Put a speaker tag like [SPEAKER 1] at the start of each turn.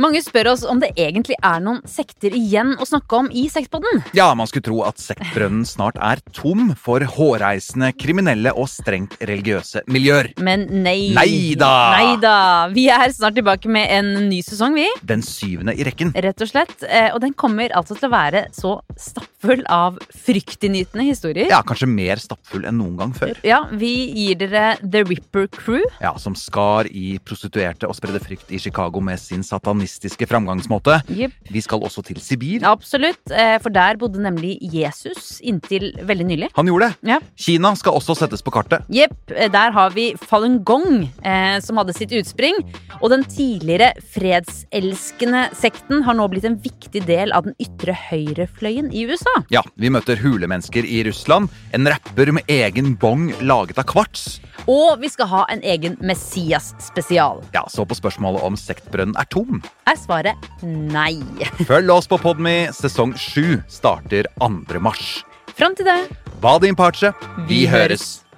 [SPEAKER 1] Mange spør oss om det egentlig er noen sekter igjen å snakke om i Sektpodden.
[SPEAKER 2] Ja, man skulle tro at sektbrønnen snart er tom for hårreisende, kriminelle og strengt religiøse miljøer.
[SPEAKER 1] Men nei.
[SPEAKER 2] Neida.
[SPEAKER 1] Neida. Vi er snart tilbake med en ny sesong, vi.
[SPEAKER 2] Den syvende i rekken.
[SPEAKER 1] Rett og slett. Eh, Og den kommer altså til å være så stappfull av fryktinngytende historier.
[SPEAKER 2] Ja, kanskje mer stappfull enn noen gang før.
[SPEAKER 1] Ja, vi gir dere The Ripper Crew.
[SPEAKER 2] Ja, Som skar i prostituerte og spredde frykt i Chicago med sin satanistiske framgangsmåte.
[SPEAKER 1] Jepp.
[SPEAKER 2] Vi skal også til Sibir.
[SPEAKER 1] Absolutt, eh, for der bodde nemlig Jesus inntil veldig nylig.
[SPEAKER 2] Han gjorde det.
[SPEAKER 1] Ja.
[SPEAKER 2] Kina skal også settes på kartet.
[SPEAKER 1] Jepp, eh, der har vi Falun Gong, eh, som hadde sitt utspring. Og den tidligere fredselskende sekten har nå blitt en viktig del av den ytre høyrefløyen i USA.
[SPEAKER 2] Ja, Vi møter hulemennesker i Russland, en rapper med egen bong laget av kvarts.
[SPEAKER 1] Og vi skal ha en egen Messias-spesial.
[SPEAKER 2] Ja, Så på spørsmålet om sektbrønnen er tom,
[SPEAKER 1] Er svaret nei.
[SPEAKER 2] følg oss på Podme. Sesong 7 starter 2. mars.
[SPEAKER 1] Fram til det
[SPEAKER 2] Vadim Pace, vi høres!